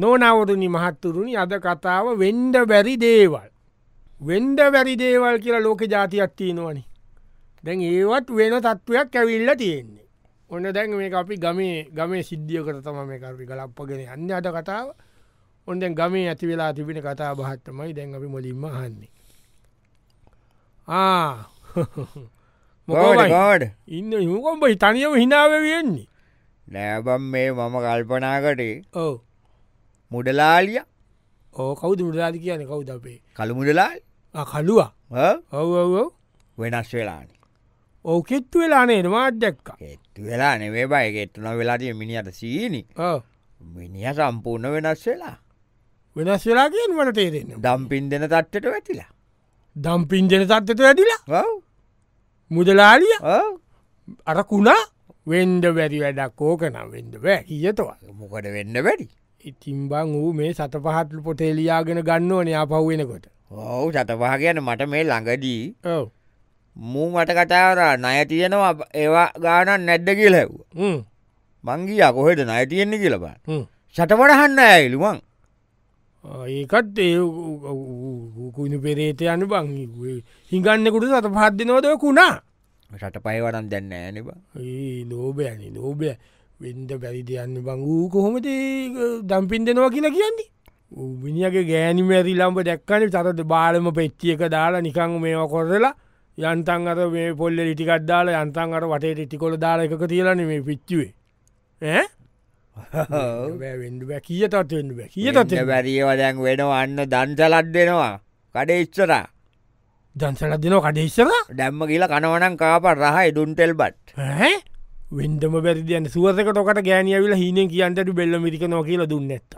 නොනවරුණි මහත්තුරුණි අද කතාව වෙන්ඩ බැරි දේවල්. වෙන්ඩ වැරි දේවල් කියලා ලෝක ජාතියක් තියෙනවනි. දැන් ඒවත් වෙන තත්ත්වයක් ඇවිල්ල තියෙන්නේ. ඔන්න දැන් මේ අපි ගමේ ගමේ සිද්ධියකට තම මේ කරපි කලප්පගෙන යන්න අද කතාව ඔොන්දැන් ගමේ ඇති වෙලා තිබෙන කතා බහත්තමයි දැන් අපි මොලින්ම හන්නේ. ආ මොකයි ගෝඩ ඉන්න යකොම්බ තනියම හිනාව වෙන්නේ නෑබම් මේ මම කල්පනාකටේ ඕ මුඩලාලිය ඕ කෞද මුරාධ කියන කවුද අපේ කළු මුඩලාල් ආ, කළුවා ඔව ඔව වෙනස් වෙලාන ඕ කෙත්තු වෙලානේ නවාත් දැක්ක එත්තු වෙලා නෙවේ බය ගෙත්තුන වෙලාටිය මිනිට සීනි මිනිිය සම්පූර්ණ වෙනස් වෙලා වෙනස් වෙලාගෙන් වට තේරෙන්න දම්පින් දෙන තත්වට වැටිලා දම් පින්ජන තත්වත වැඩිලා ඔව්, මුදලාලිය ඔව්. අරකුණා වෙන්ඩ වැරි වැඩක් ඕකනම් වෙන්ඩ බෑ කියතවා මොකට වෙන්න වැඩි ඉතිම්බං වූ මේ සත පහටල පොටේලියයාගෙන ගන්න ඕනේ අපහුවෙනකොට ඔවු සතපහ කියන මට මේ ළඟදී ඔව මූ මට කතාවරා නය තියෙනවා අප- ඒවා ගානන් නැද්ද කියල හැව්ව මංගී අකොහෙට නය තියෙන්නේ කියලබා සටපටහන්න ඇයිලුවන් ඒකත් ඒ කුණ පෙරේත යන බං හිඟන්නෙකුට සත පහත් දෙනෝද කුණා සට පයවරන් දැන්න ඇනිබා ඒ ලෝබයන ලෝබය වෙන්ඩ බැරිදයන්න බං වූ කොහොමද දම්පින් දෙනවා කියලා කියන්නේ උබිනිියගේ ගෑනි මැරි ලම්බ දැක්කන සතට බාලම පෙච්චියක දාලා නිකං මේවා කොරලා යන්තන් අර මේ පොල්ල ටිකත් දාලා යන්තන් අර වටේ ටිකොල දාලා එක තියලන මේ පිච්චුවේ වෙන්ඩ බැ කිය තත් වෙන්න බැ කිය තත් බැරිවදැන් වෙනවන්න දන්සලත් දෙනවා කඩ ඉච්චරා දන්සලත් දෙනවා කඩේශර දැම්ම කියල කනවනම් කාපට රහ ඉදුන්ටෙල් බට් වෙන්ඩම බැරිදයන්න සුවසකටොකට ගෑනියවිල හිනෙන් කියන්ට බෙල්ල මිරික නො කියල දුන්න ඇත්ත.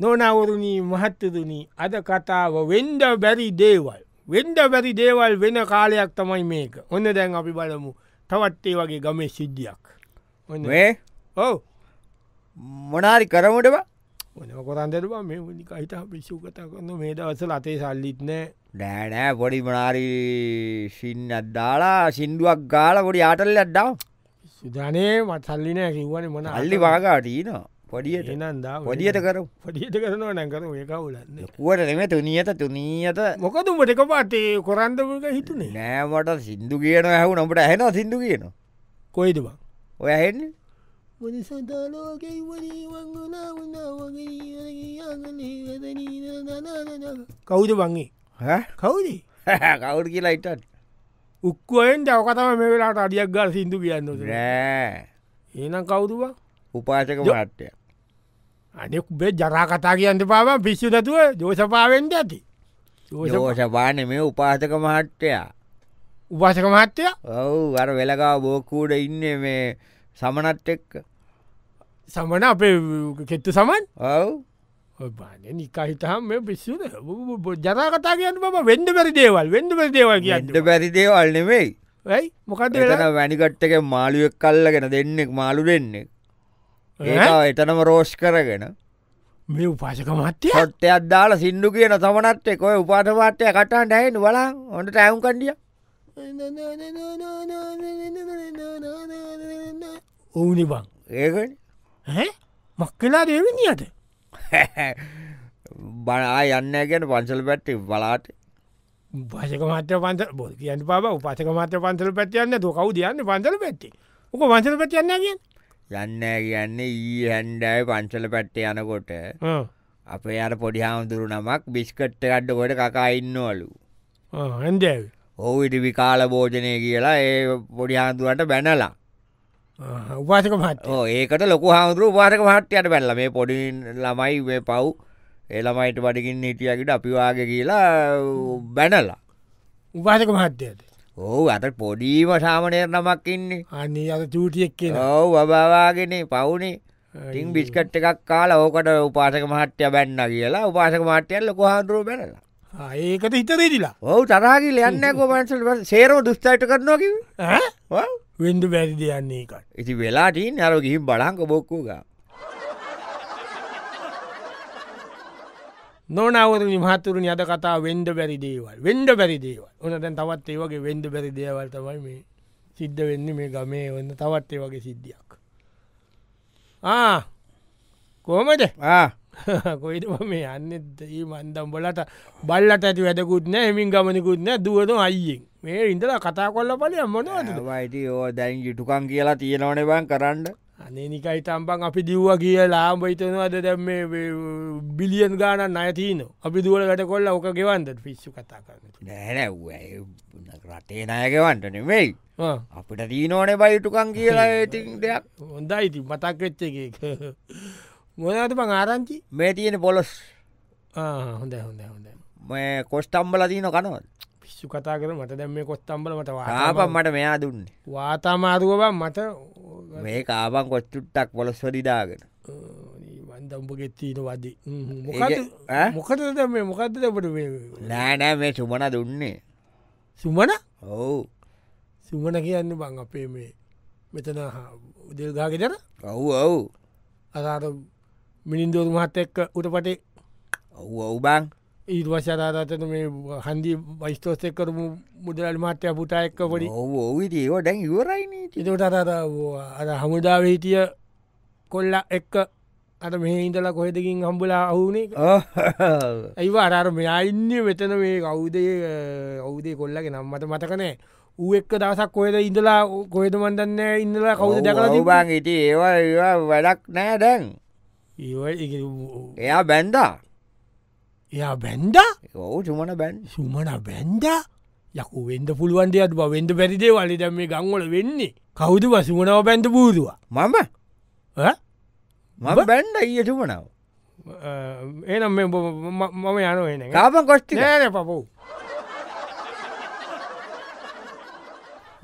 නොනවරුණී මහත්තතුනී අද කතාව වෙන්ඩ බැරි දේවල්. වෙන්ඩ බැරි දේවල් වෙන කාලයක් තමයි මේක ඔන්න දැන් අපි බලමු තවත්තේ වගේ ගමේ සිද්ධියක්. ඔන්න මේ ඔව මොනාරි කරමුටව ඔනකොරන්දරවා මේ නික හිත පිස්සු කතා කරන්න මේ දවසල අතේ සල්ලිත් නෑ නෑනෑ පොඩි මනාරි සින්න අද්දාලා සින්දුවක් ගාල පොඩි ආටල්ල අඩ්ඩා සුධනය මත් සල්ලිනය කිව්වන මොන අල්ලි වාගාටීන පොඩියට එනන්දා පොඩියට කරු පොඩියට කරනවා නැකර ඒකවුලන්න කුවට නෙම තුනියත තුනීත මොකද උඹට එක පාටේ කොරන්දමක හිතුනේ නෑමට සිින්දු කියන ඇහු නොට ඇහෙන සිින්දු කියන කොයිද බං ඔය හෙන්නේ මනිසතාලෝකයි වනීවංගනා වනාාවගේ කවුද වගේ කවුද කවුට කියලා ඉටත් උක්කුවෙන් දවකතම මේ වෙලාට අඩියක් ගල් සිින්දු කියන්න නෑ ඒනම් කවුතුවා උපාසක ජො- මට්ටය අනෙක් බේ ජරා කතා කියන්න පාවා පිස්සු නැතුව දෝෂපාවෙන්ට ඇති යෝෂ පාන මේ උපාසක මහට්ටයා උපසක මහත්තය ඔව් අර වෙලකා බෝකූඩ ඉන්න මේ සමනත් එක්ක සමන අපේ කෙත්තු සමන් ඔව් බාන නිකහිතහම පිස්සුද ජනා කතා කියන්න බම වෙන්ඩ පැරි දේවල් වෙන්ඩ පැරි දේවල් කියන්න ගඩ පැරිදේවල් නෙවෙයි යි මොකද එතන වැනිකට්ටක මාළුවක් කල්ලගෙන දෙන්නෙක් මාළු දෙන්නෙක් ඒ එතනම රෝෂ් කරගෙන මේ උපාසක මත්තය හොට්ට අදදාලා සිින්දු කියන සමනත් එකොය උපාටමාට්‍යය කටා ඩැයින් වලා හොට ඇවුම් කණ්ඩිය ඕනි බං ඒක මක්කලා දේවිනිියට බනා යන්න ගැන පන්සල් පැට්ටි බලාට උපාසක මත්‍ය පන්ත බො කියන්න පාව උපාසක මත්‍ය පන්සල පැතියන්න තොකවු දයන්න පන්සල පැත්ති ඕක වන්සල පැතියන්න කියෙන් යන්න කියන්නේ ඊ හැන්ඩයි පංචල පැට්ටේ යනකොට අපේ අර පොඩි හාමුදුරු නමක් බිස්කට්ට ගඩ්ඩ ගොඩ කකා ඉන්නවලු. හන්දැව ඔහු ඉටි විකාල භෝජනය කියලා ඒ පොඩි හාමුදුරුවට බැනලා. උපාසක මත්ත ඕ ඒකට ලොකු හාමුදුරු පාරක මහට්ටයට බැල්ල මේ පොඩි ළමයි මේ පව් එළමයිට වඩිකින් හිටියකට අපිවාග කියලා බැනලා. උපාසක මහත්තයට ඕ අත පොඩීම සාමනයට නමක් ඉන්නේ. අන්නේ අද චූටියක් කියෙන ඔව් බවාගෙන පවුනේ ටිං බිස්කට් එකක් කාල ඕකට උපාසක මහට්‍යය බැන්න කියලා උපාසක මහට්‍යයල්ල කොහාන්දුරුව බැනලා. ඒකට හිතරේදිලා ඔහු තරාගිල යන්න කොමන්සල් සේරෝ දුස්තයිට කරනොකිව වෙන්ඩ බැරි දෙයන්නේ එකට ඉති වෙලාටීන් අර ගිහිම් බලංක බොක්කුග නොනවර නිමහතුරනි අද කතා වෙන්ඩ බැරි දේවල් වෙන්ඩ බැරි දේවල් ඕන දැන් තවත් ඒ වගේ වෙන්ඩ බැරි දේවල් තමයි මේ සිද්ධ වෙන්න මේ ගමේ ඔන්න තවත් ඒ වගේ සිද්ධියක් කෝමද ආ කොයිට මේ යන්න ඒ මන්දම් බලට බල්ලට ඇති වැඩකුත්න එමින් ගමනිකුත්න දුවන අයියෙන් මේ ඉඳල කතා කොල්ල පලය මොනවද වයිති ඕ දැන් යුටුකන් කියලා තියෙනවන බන් කරන්න අනනිකයි තම්පන් අපි දිව්ව කියලා බහිතනවාද දැම් මේ බිලියන් ගාන අයතින අපි දුවල වැට කොල්ල ඕක ගෙවන්ද පිස්සු කතා කරනට නැහැනැ රටේ නයගවන්ටන වෙයි අපිට දීනෝනේ බයුටුකන් කියලා ඉති දෙයක් හොඳයි ඉති මතක් වෙච්ච එක මොනට පං ආරංචි මේ තියෙන පොලොස් ආ, හොඳ හොඳ හොඳ මේ කොස්ටම්බල දීන කනවල් පිස්සු කතා කර මට දැම් මේ කොත්තම්බලමට ආප මට මෙයා දුන්නේ වාතාමාරුවබන් මට මේ කාබන් කොච්චුට්ටක් පොලොස් වදිදාගෙන වන්දම්පගෙත්තීන වදී ඒක- ඈ? මොකද මේ මොකක්ද අපට නෑනෑ මේ සුමන දුන්නේ සුමන ඔවු සුමන කියන්න බං අපේ මේ මෙතන උදෙල්ගාගෙතර ඔවු ඔවු අදාර මිනිින්දෝරු මහත් එක්ක උට පටේ ඔවු ඔවුබං ඊට වශ්‍යතාතන මේ හන්දි වයිස්තෝස් එක් කරමු මුදල් මහත්‍යය පුටා එක්ක පොඩි ඔවු ඔවිදේෝ ඩැන් ඉවරයිනීට එතට අර අර හමුදාව හිටිය කොල්ල එක්ක අට මෙහ ඉඳලා කොහෙදකින් හම්බලා අවුනේ ඇයිවා අරර මෙයාඉන්න වෙතන මේ කවුදේ ඔවුදේ කොල්ලගේ නම් මට මතකනෑ ඌ එක්ක දවසක් කොහෙද ඉඳලා කොහෙද මන්දන්න ඉඳලා කවුද දැකලා තිබා ඔවුබං ඉති ඒවා ඒවා වැඩක් නෑ ඩැන් ඒ එයා බැන්දා එයා බැන්ඩා ඔවු සුමන බැන් සුමන බැන්ඩා යකු වෙන්ඩ පුළුවන්ටයත් බ වෙන්ඩ පැරිදේ වලි දැම් මේ ගංවල වෙන්නේ කවුද වසුමනාව බැන්ඩ පූරුවා මම මම බැන්ඩ ඊය සුමනාව ඒනම් මේ බ- ම- මම යන එන කාපන් කොස්්ටි නෑන පපු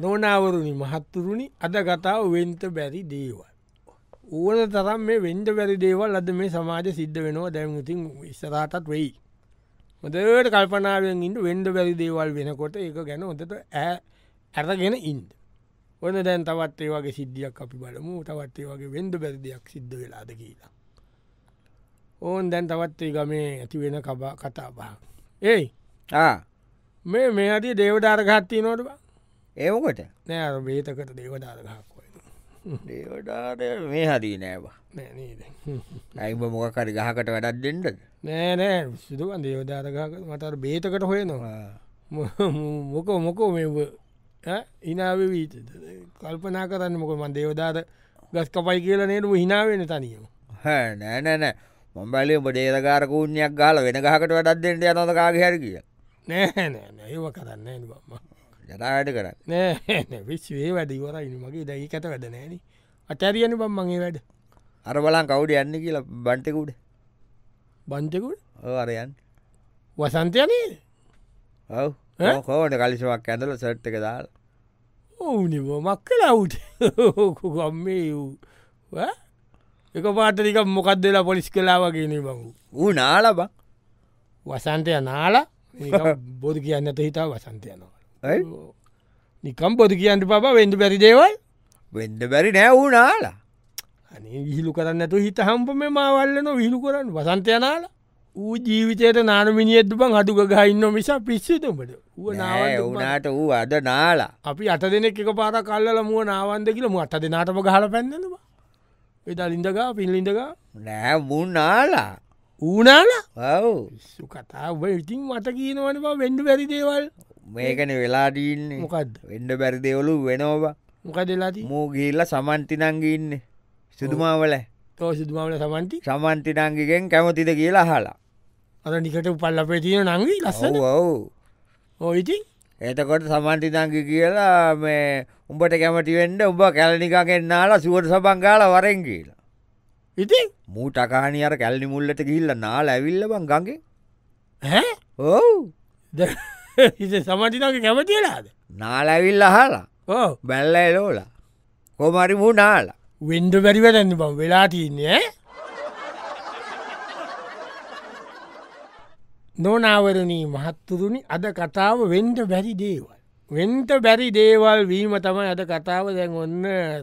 නොනවරුණි මහත්තුරුණි අද කතාව වෙන්ට බැරි දේවල්. ඕන තරම් මේ වෙන්ඩ බැරි දේවල් අද මේ සමාජ සිද්ධ වෙනවා දැමුතින් ඉස්සරාටත් වෙයි. මොදට කල්පනාවෙන් ඉට වෙන්ඩ බැරි දේවල් වෙනකොට ඒක ගැන ොතට ඇ ඇරගෙන ඉන්ද. ඔන්න දැන් තවත් ඒ වගේ සිද්ධියක් අපි බලමු තවත් ඒ වගේ වෙන්ඩ බැරිදයක් සිද්ධ වෙලාද කියලා. ඕන් දැන් තවත් ඒ ගමේ ඇති වෙන කබා කතාබා. ඒයි මේ මේ අති දේවධාරගත්ති නොට ඒවකොට නෑ බේතකට දේවධාරගක්ොයි දේවඩාට මේ හදී නෑවා නෑනේද ඇයිම මොකකරි ගහකට වැඩක් දෙෙන්ඩද නෑනෑ සිදුවන් දේවධාරගක මතර බේතකට හොය නවා මොකෝ මොකෝ මෙ ඉනාව වීත කල්පනා කරන්න මොක මන් දේවධාර ගස් කපයි කියලා නේටම හිනාවෙන තනියම නෑනෑනෑ මොම් බැලි ඔබ දේරකාරකූුණයක් ගාල වෙන ගහකට වැඩක් දෙෙන්ට අනොකාගේ හැර කිය නෑ නෑ ඒව කරන්න බම්ම ජතායට කරන්න නෑ විශ්වේ වැඩිවර ඉනිමගේ දැයි කත වැඩ නෑන අටැරියන බම්මගේ වැඩ අර බලන් කවුඩ යන්න කියලා බන්ටකුඩ බංචකුට අරයන් වසන්තයනේ ඔව කෝට කලිසමක් ඇඳල සට් එක දාල් ඕනිම මක් කලවුට ගම්මේ වූ එක පාටරික මොකක් දෙලා පොලිස් කලා වගේන බංු ඌ නාලබා වසන්තය නාලා නිකම් බොදු කියන්නට හිතා වසන්තයනවා නිකම් පොදු කියන්ට පබ වෙන්ඩ පැරිදේවල් වෙන්ඩ බැරි නෑ ඌ නාලා අනේ විහිලු කරන්නතු හිත හම්ප මේ මවල්ලන විහිලු කරන්න වසන්තය නාලා ඌ ජීවිතයට නානමිනි එද්දු බං හටුක ගහින්න මිස පිස්සිතුමට ඌ නෑ නාව වනාට වූ අද නාලා අපි අත දෙනෙක් එක පාර කල්ල මුව නාවන්ද කියලම අත දෙනාටම ගහල පැන්නවා එතා ලින්දගා පිල්ලිඳගා නෑ මුන් නාලා ඌනාලා ඔව් සු කතා ඔබ ඉතින් මට කියනවනවා වෙන්ඩ වැරි දේවල් මේකන වෙලාදීන්නේ මොකක්ද වෙන්ඩ බැරි දෙවලු වෙනෝබ මොකදලාති මූ ගිල්ල සමන්තිනංගඉන්න සිදුමාවල තෝ සිදුමාවල සමන්ති සමන්තිනංගිකෙන් කැමතිද කියලා හලා අර නිකට උපල් අපේ තියෙන නංගී ලස්සන ඔව් ඕයිතින් එතකොට සමන්තිනංගි කියලා මේ උඹට කැමති වෙන්ඩ උඹ කැලනිකගෙන් නාලා සුවට සබංගාල වරෙන් කියලා ඉතින් මූ ටකානි අර කැල්ලි මුල්ලට ගිල්ල නාල ඇවිල්ල බං ගගේ හැ ඔව් හිස සමටිනක කැමතිලාද නාලැවිල්ල හලා ඕ බැල්ල එලෝලා කොමරි මූ නාලා වෙන්ඩ බැරිවැරන්න බං වෙලා තියන්නේ නොනාවරණී මහත්තුරුණි අද කතාව වෙන්ට බැරි දේවල්. වෙන්ට බැරි දේවල් වීම තමයි අද කතාව දැන් ඔන්න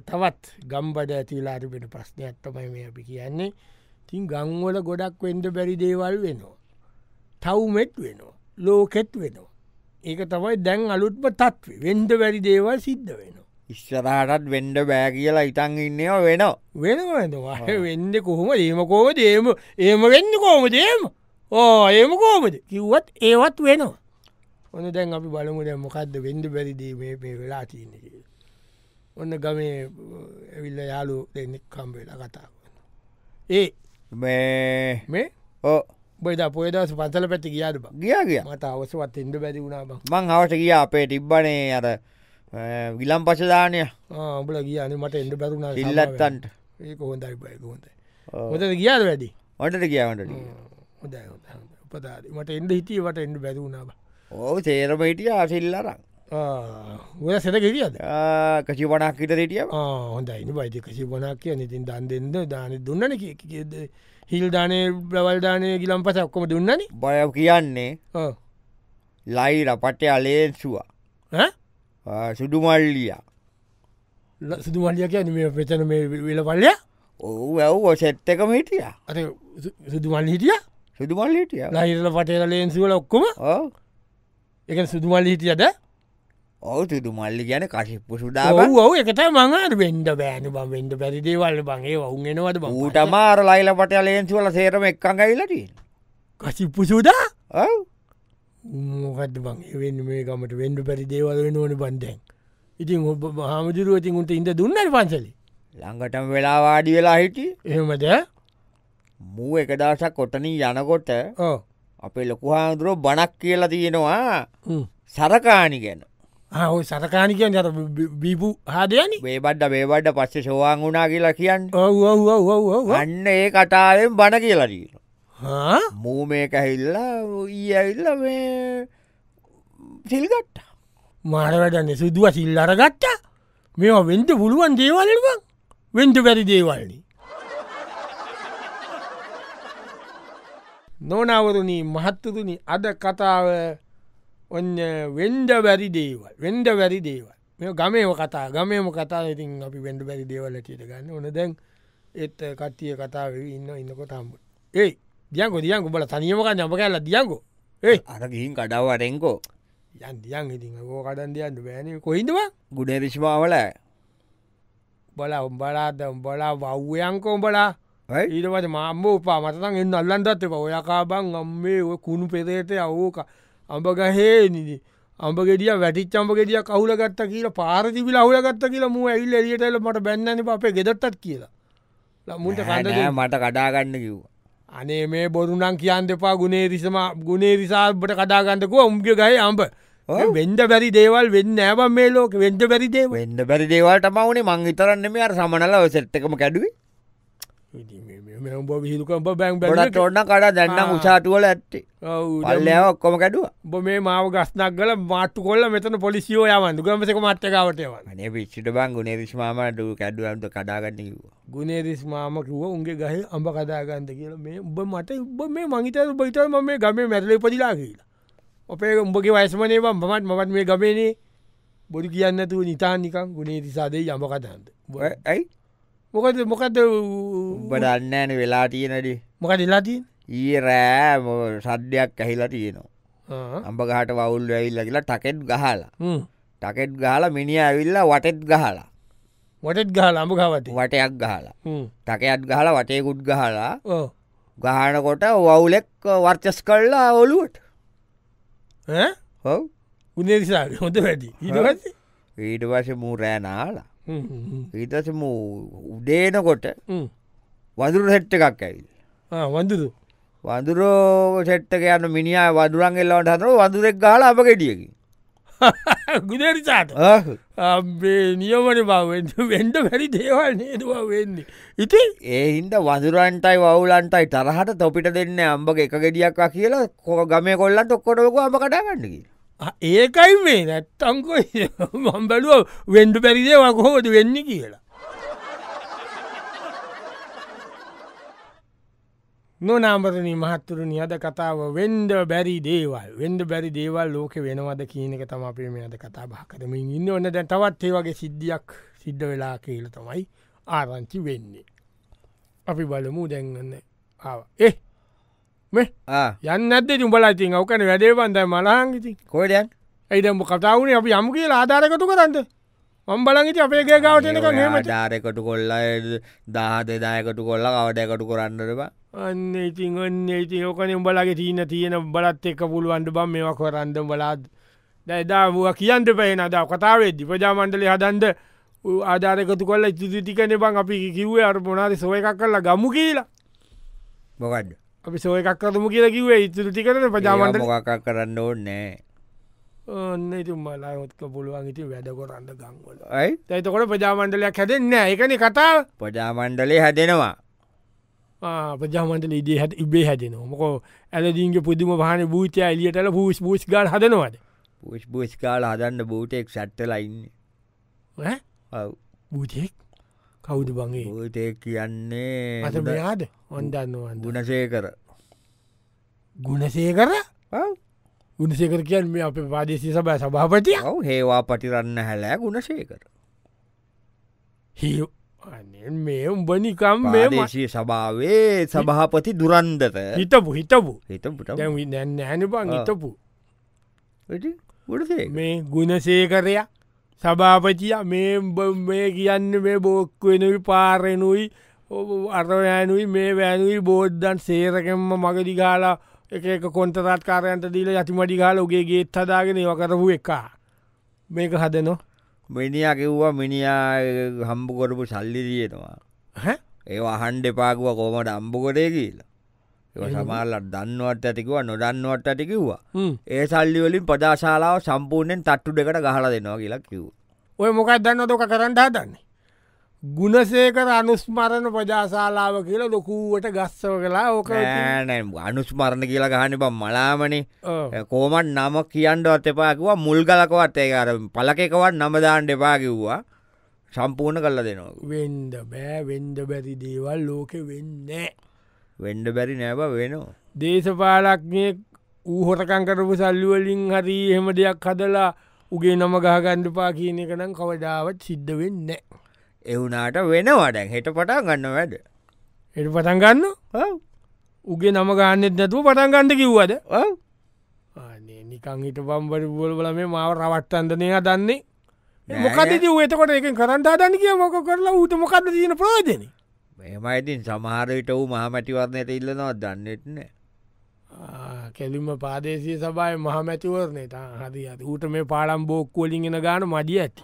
තවත් ගම්බඩ ඇතිලාටිපිට ප්‍රශ්නයක් තමයි මේ අපි කියන්නේ තින් ගංවල ගොඩක් වෙන්ඩ බැරි දේවල් වෙනවා. තවුමෙත් වෙනවා ලෝකෙත් වෙනවා. ඒක තමයි දැන් අලුත්ම තත්ව වෙන්ඩ වැරි දේවල් සිද්ධ වෙනවා. ඉස්සරහටත් වෙන්ඩ බෑ කියලා ඉතන් ඉන්නව වෙනවා වෙනවදවා වෙන්න කොහොම ඒමකෝම දේම ඒම වෙන්න කෝම දේම ඕ ඒම කෝමද කිව්වත් ඒවත් වෙනවා ඔන්න දැන් අපි බලමු දැ මොකක්ද වෙඩ බැරිදීමේ මේ වෙලා තියන්නේ ඔන්න ගමේ ඇවිල්ල යාලු දෙන්නෙක් කම්බෙලා කතාව ඒ මේ මේ ඕ බයිද පොයදස පසල පැති කියාද බ ගිය කිය මට අවසවත් එන්ඩ බැරි වුණා බං මං හවට කිය අපේ තිබ්බනේ අර ගිලම් පසදානය ආඹල කියන මට එන්ඩ බැරුණා ඉල්ලත්තන්ට ඒ හොඳයි බයි හොඳයි හොද කියාද වැඩි ඔටට කියවට හොඳයි හොඳයි. උපකාරයි. මට එන්ඩ හිටියට එන්ඩ බැදුුණාව ඕ සේරම හිටිය ආසිල්ලරක් ඔය සෙන කිරියද කචි වනක් හිට හිටිය හොඳයින්න බයිති කිසි බොනක් කිය ඉතින් දන් දෙෙන්ද දාන දුන්නන කියෙද හිල් දානය බ්‍රවල්ධානය ගිලම් පස ඔක්කොම දුන්නන බය කියන්නේ ලයි රපට්ටය අලේන්සුවා සුඩුමල්ලිය සිදුමල්ලිය කියන මේ පෙචන මේ වෙල පල්ලය ඔහු ඇව් ඔසෙත්තකම හිටිය අත සිදුමල් හිටිය සුදුමල් හිටිය ලහිරල පටේල ලේන්සිවල ඔක්කොම එක සිදුමල් හිටියද ඔවු සිදුමල්ලි ගැන කශිප්පු සුඩාව ඔව එකට මඟට වෙන්ඩ බෑන බ වෙන්ඩ පැරිදේවල්ල බගේ ඔවුන්ගෙනවද බ ඌටමාර ලයිලපට අලේන්සිවල සේරම එක්කඟ ඉලටී කසිප්පු සුදා ඔව මොකද බං එවෙන් මේ ගමට වෙන්ඩ පැරි දේවල් වෙන ඕන බන්ඩැන් ඉතින් ඔබ හාමුදුරුව ඉතින් උන්ට ඉඳ දුන්නට පන්සලි ළඟටම වෙලාවාඩි වෙලා හිටි එහෙමද මූ එකදසක් කොටනින් යනකොට ඕ අපේ ලොකු හාමුදුරුව බණක් කියලා තියෙනවා හ්ම්. සරකාණි ගැන ආ, ඔය සරකානිකයන් අර බීපු හාදයනි බේබඩ්ඩ බේබඩ්ඩ පස්සේ සෝවාන් වුනා කියලා කියන්න ඔව්හා අන්න ඒ කටාවෙන් බණ කියලටීන මූ මේක හිල්ලා ඊ ඇවිල්ල මේ සිල්ගට්ට මාරවැටන්න සිදුව සිල් අරගත්ත මෙවා වෙන්ට පුළුවන් දේවලවන් වෙන්ට පැරි දේවල්නි නොනවරුණී මහත්තුරුණි අද කතාව ඔන්න වෙන්ඩ වැරි දේවල් වෙන්ඩ වැරි දේවල් මෙ ගමේම කතා ගමේම කතා ඉතින් අපි වෙන්ඩ බැරි දේවල්ලටට ගන්න ඕන දැන් ඒත් කට්ටිය කතාව ඉන්න ඉන්නකො තම්බ ඒ දියන්කො දියන්කු බල තනියමක නම කැල්ල දියන්කෝ ඒ අරගින් කඩවරෙන්කෝ යන් දියන් ඉතින් ඕ කටන් දියන්න බෑන කොයිදවා ගුඩේ විශ්මාවල බල උඹලාද උඹලා වව්වයංකෝ උඹලා ඊටවට මාම්බ උපා මතන් එන්න අල්ලන්ටත් එප ඔයකාබන් අම්මේ ඔය කුණු පෙරේට අවෝක අඹගහේ නිදි අඹ ගෙඩිය වැටිච් අම්ඹ ගෙඩිය කවුල ගත්ත කියලා පාරතිබිල අවුල ගත්ත කියලා මු ඇල් එලියටල මට බැන්නන අපේ ගෙදත්තත් කියලා මුට කඳ දෙන්න. මට කඩාගන්න කිව්ව අනේ මේ බොරුනම් කියන් දෙපා ගුණේ රිසම ගුණේ රිසාබට කඩාගන්නකෝ උම්ගේ ගයි අම්ඹ ඔව්. වෙන්ඩ බැරි දේවල් වෙන්න ඇබ මේ ලෝක වෙන්ඩ බැරි දේව වෙන්න බැරි දේවල්ට මවුනේ මං විතරන්න මේ අර සමනල සෙට්කම කැඩුවේ උඹ විහිදුකම්ඹ බැන් ගොඩත් ඔන්න කඩා දැන්නම් ආ. උසාටුවල ඇත්තේ පල්ලයාව ඔක්කොම කැඩුව උඹ මේ මාව ගස්නක් ගල මාට්ටු කොල්ල මෙතන පොලිසිෝ යවන්දු ගමසක මට්ටකවටයවන්න මනේ පිච්චිට බං ගුණේ විශ්මාමට කැඩුවන්ට කඩාගන්න කිව ගුණේරිස් මාම කිව උන්ගේ ගහ අඹ කදාගන්ත කියල මේ උඹ මට උබ මේ මහිත බයිතර ම මේ ගමේ මැරල පදිලා කියලා අපේ උඹගේ වයසමනේ බම් මත් මත් මේ ගමේනේ බොඩි කියන්නතු නිතානිකම් ගුණේ රිසාදේ යම කතන්ද ඇයි මොකද මොකද උඹ දන්න ඇන වෙලා තියෙනඩි මොකද එලාතින් ඊ රෑ මො- සද්දයක් ඇහිලා තියෙනවා අම්ඹ ගහට වවුල් ඇවිල්ල කියලා ටකෙට් ගහලා ටකෙට් ගහල මිනිිය ඇවිල්ලා වටෙත් ගහලා මොටත් ගහ ලාඹ ගවතේ වටයක් ගහලා ටකයත් ගහලා වටයකුත් ගහලා ඕ ගහනකොට වවුලෙක් වර්චස් කල්ලා ඔලුවට ඈ? හෝ ගුණේරිසා හොඳ වැඩි ඉටත් ඊට වශ මූ රෑනාලා ඊටස මූ උදේනකොට වදුර හෙට්ට එකක් ඇවිල් වඳුදු වදුරෝ සෙට්ටක යන මිනිිය වදුරන්ගෙල්ලවට හතර වදුරෙක් ගාල අප ගෙටියකි ගුණේරිසාට අබේ නියමන බවෙන්ට වෙන්ඩ වැරි දේවල් නේදවා වෙන්නේ ඉති ඒ හින්ද වදුරන්ටයි වවුලන්ටයි තරහට තොපිට දෙන්න අම්බ එක ගෙඩියක් කියලා කො ගම කොල්ලන්ට ඔක්කොටක අම කටාගන්නකි ඒකයි මේ නැත්තංකො මම් බැලුව වෙන්ඩ පැරිදේවා කොහොද වෙන්න කියලා නොනාම්බරණ මහත්තුරු නියද කතාව වෙන්ඩ බැරි දේවල් වෙන්ඩ බැරි දේවල් ලෝක වෙනවද කියනක තම අපේ මෙද කතා භාකරමින් ඉන්න ඔන්න දැන් තවත් ඒ වගේ සිද්ධියක් සිද්ධ වෙලා කියල තමයි ආරංචි වෙන්නේ අපි බලමු දැන්ගන්න ආ ඒ මෙ යන්න ඇද තුඹලාතින් අවකන වැඩේවන්ද මලාංගිති කොඩයන් ඇයිදම කතාවනේ අපි යම කියලා ආධාරකතු කරන්න මම්බලගිට අපේ ගේගවටනක නමට ආචාරයකටු කොල්ල දහත දායකටු කොල්ල කවඩයකටු කොරන්නටබ අන්න ඉතින් ඔන්න ඉති ඕකන උඹලගේ තියන තියෙන බලත් එක්ක පුළුවන්ට බම් මේවා කොරන්ද බලාත් දැදා වුව කියන්ට පේන අදා කතාවේදි ප්‍රජාමන්ටලි හදන්ද ආධාරකතු කොල්ල චිතිකන බං අපි කිව්වේ අර පොනාද සොය එකක් කරලා ගමු කියලා මොකඩ අපි සොය එකක් කරතුම කියලා කිවේ ඉතුරු ටිකරන ප්‍රජාමන්ට මොකක් කරන්න ඕන්නෑ ඔන්න ඉතුම්මලා ඔත්ක පුළුවන් ඉති වැඩ කොරන්න ගංවල ඇයි ඇතකොට ප්‍රජාමන්ටලයක් හැදෙන්න එකන කතාව පජාමණ්ඩලේ හැදෙනවා ප්‍රජාමන්ටල ඉදේ හැට ඉබේ හැදෙන මොකෝ ඇලදිීන්ගේ පුදුම පහන භූතය එලියටල පූස් පූස් ගල් හදනවද පුෂ් පුෂ්කාල හදන්න බූටෙක් සැට්ටලයින්න ඈ? භූතයෙක් කවුද බගේ බූතෙක් අත කියන්නේ මෙයාද ඔොන්දන්නවන්ද ගුණසේ කර ගුණසේ කර ගුණසේකර කියන් මේ අප පාදේශය සබෑ සභාපතිය ඔව හේවා පටිරන්න හැලෑ ගුණසේ කර හි මේ උඹනිකම් මේ දේශය සභාවේ සභහපති දුරන්දත හිතපු හිතපු හිතපුට දැ නැන්න හැනපං ආ. හිතපු ගුණසේ මේ ගුණසේකරය සභාපතිය මේ උඹ මේ කියන්න මේ බෝක්වෙනුයි පාරෙනුයි අරවෑනුයි මේ වැෑනුයි බෝද්ධන් සේරකෙන්ම මගදි ගාලා එක එක කොන්තරත් කාරයන්ට දීල යතිමඩි ගාල ඔගේගේ හදාගෙන වකරපු එක මේක හදනො මිනිිය කිව්වා මිනිියා හම්බු කොරපු සල්ලි දයෙනවා ඒ අහන්ඩ එපාකුව කෝමට අම්බුකොටේ කියලා ඒ සමාල්ලත් දන්නවට ඇතිකවා නොදන්නවට ඇටිකිව්වා ඒ සල්ලිවලින් පදාශාලාව සම්පූර්ණයෙන් තට්ටු දෙකට ගහලා දෙනවා කියලා කිව් ඔය මොකක් දන්න දොක කරන්නට හදන්නේ ගුණසේකර අනුස්මරණ ප්‍රජාශාලාව කියලා ලොකුවට ගස්සව කලා ඕක ඉතින්- නෑ අනුස්මරණ කියලා ගහන්න බම් මලාමනේ ඔව්. කෝමට නම කියන්ඩවත් එපාකිවා මුල් ගලකවත් ඒකර පලකකවත් නමදාන්ඩ එපා කිව්වා සම්පූර්ණ කල්ල දෙනවා වෙන්ඩ බෑ වෙන්ඩ බැරි දේවල් ලෝකෙ වෙන්නේ. වෙන්ඩ බැරි නෑබ වෙනවා දේශපාලක්නය ඌහොටකං කරපු සල්ලිවලින් හරි එහෙම දෙයක් හදලා උගේ නම ගහගණ්ඩපා කියන එක නම් කවදාවත් සිද්ධ වෙන්න. එට එවුනාට වෙනවාඩැන් හෙට පටා ගන්න වැඩ පටන්ගන්න ඔව්. උගේ නම ගන්නෙත් නැතුව පටන්ගන්ඩ කිව්වද ඔව්. ආනේ නිකං හිට පම්බරි බොල්බල මේ මාව රවට්ටන්දනය දන්නේ. නෑ මොකද නෑ. එතකොට එක කරන්ටාදන කිය මොක කරලා ඌට මොකද තියෙන ප්‍රෝජන මෙමයිතින් සමහරවිට වූ මහමැටිවරණයට ඉල්ලනවා දන්නෙත්න කෙලිම පාදේශය සබයි මහමැතිවරණේ හරි ඇති ඌට මේ පාලම් බෝක්කෝලින්ගෙන ගාන මඩිය ඇති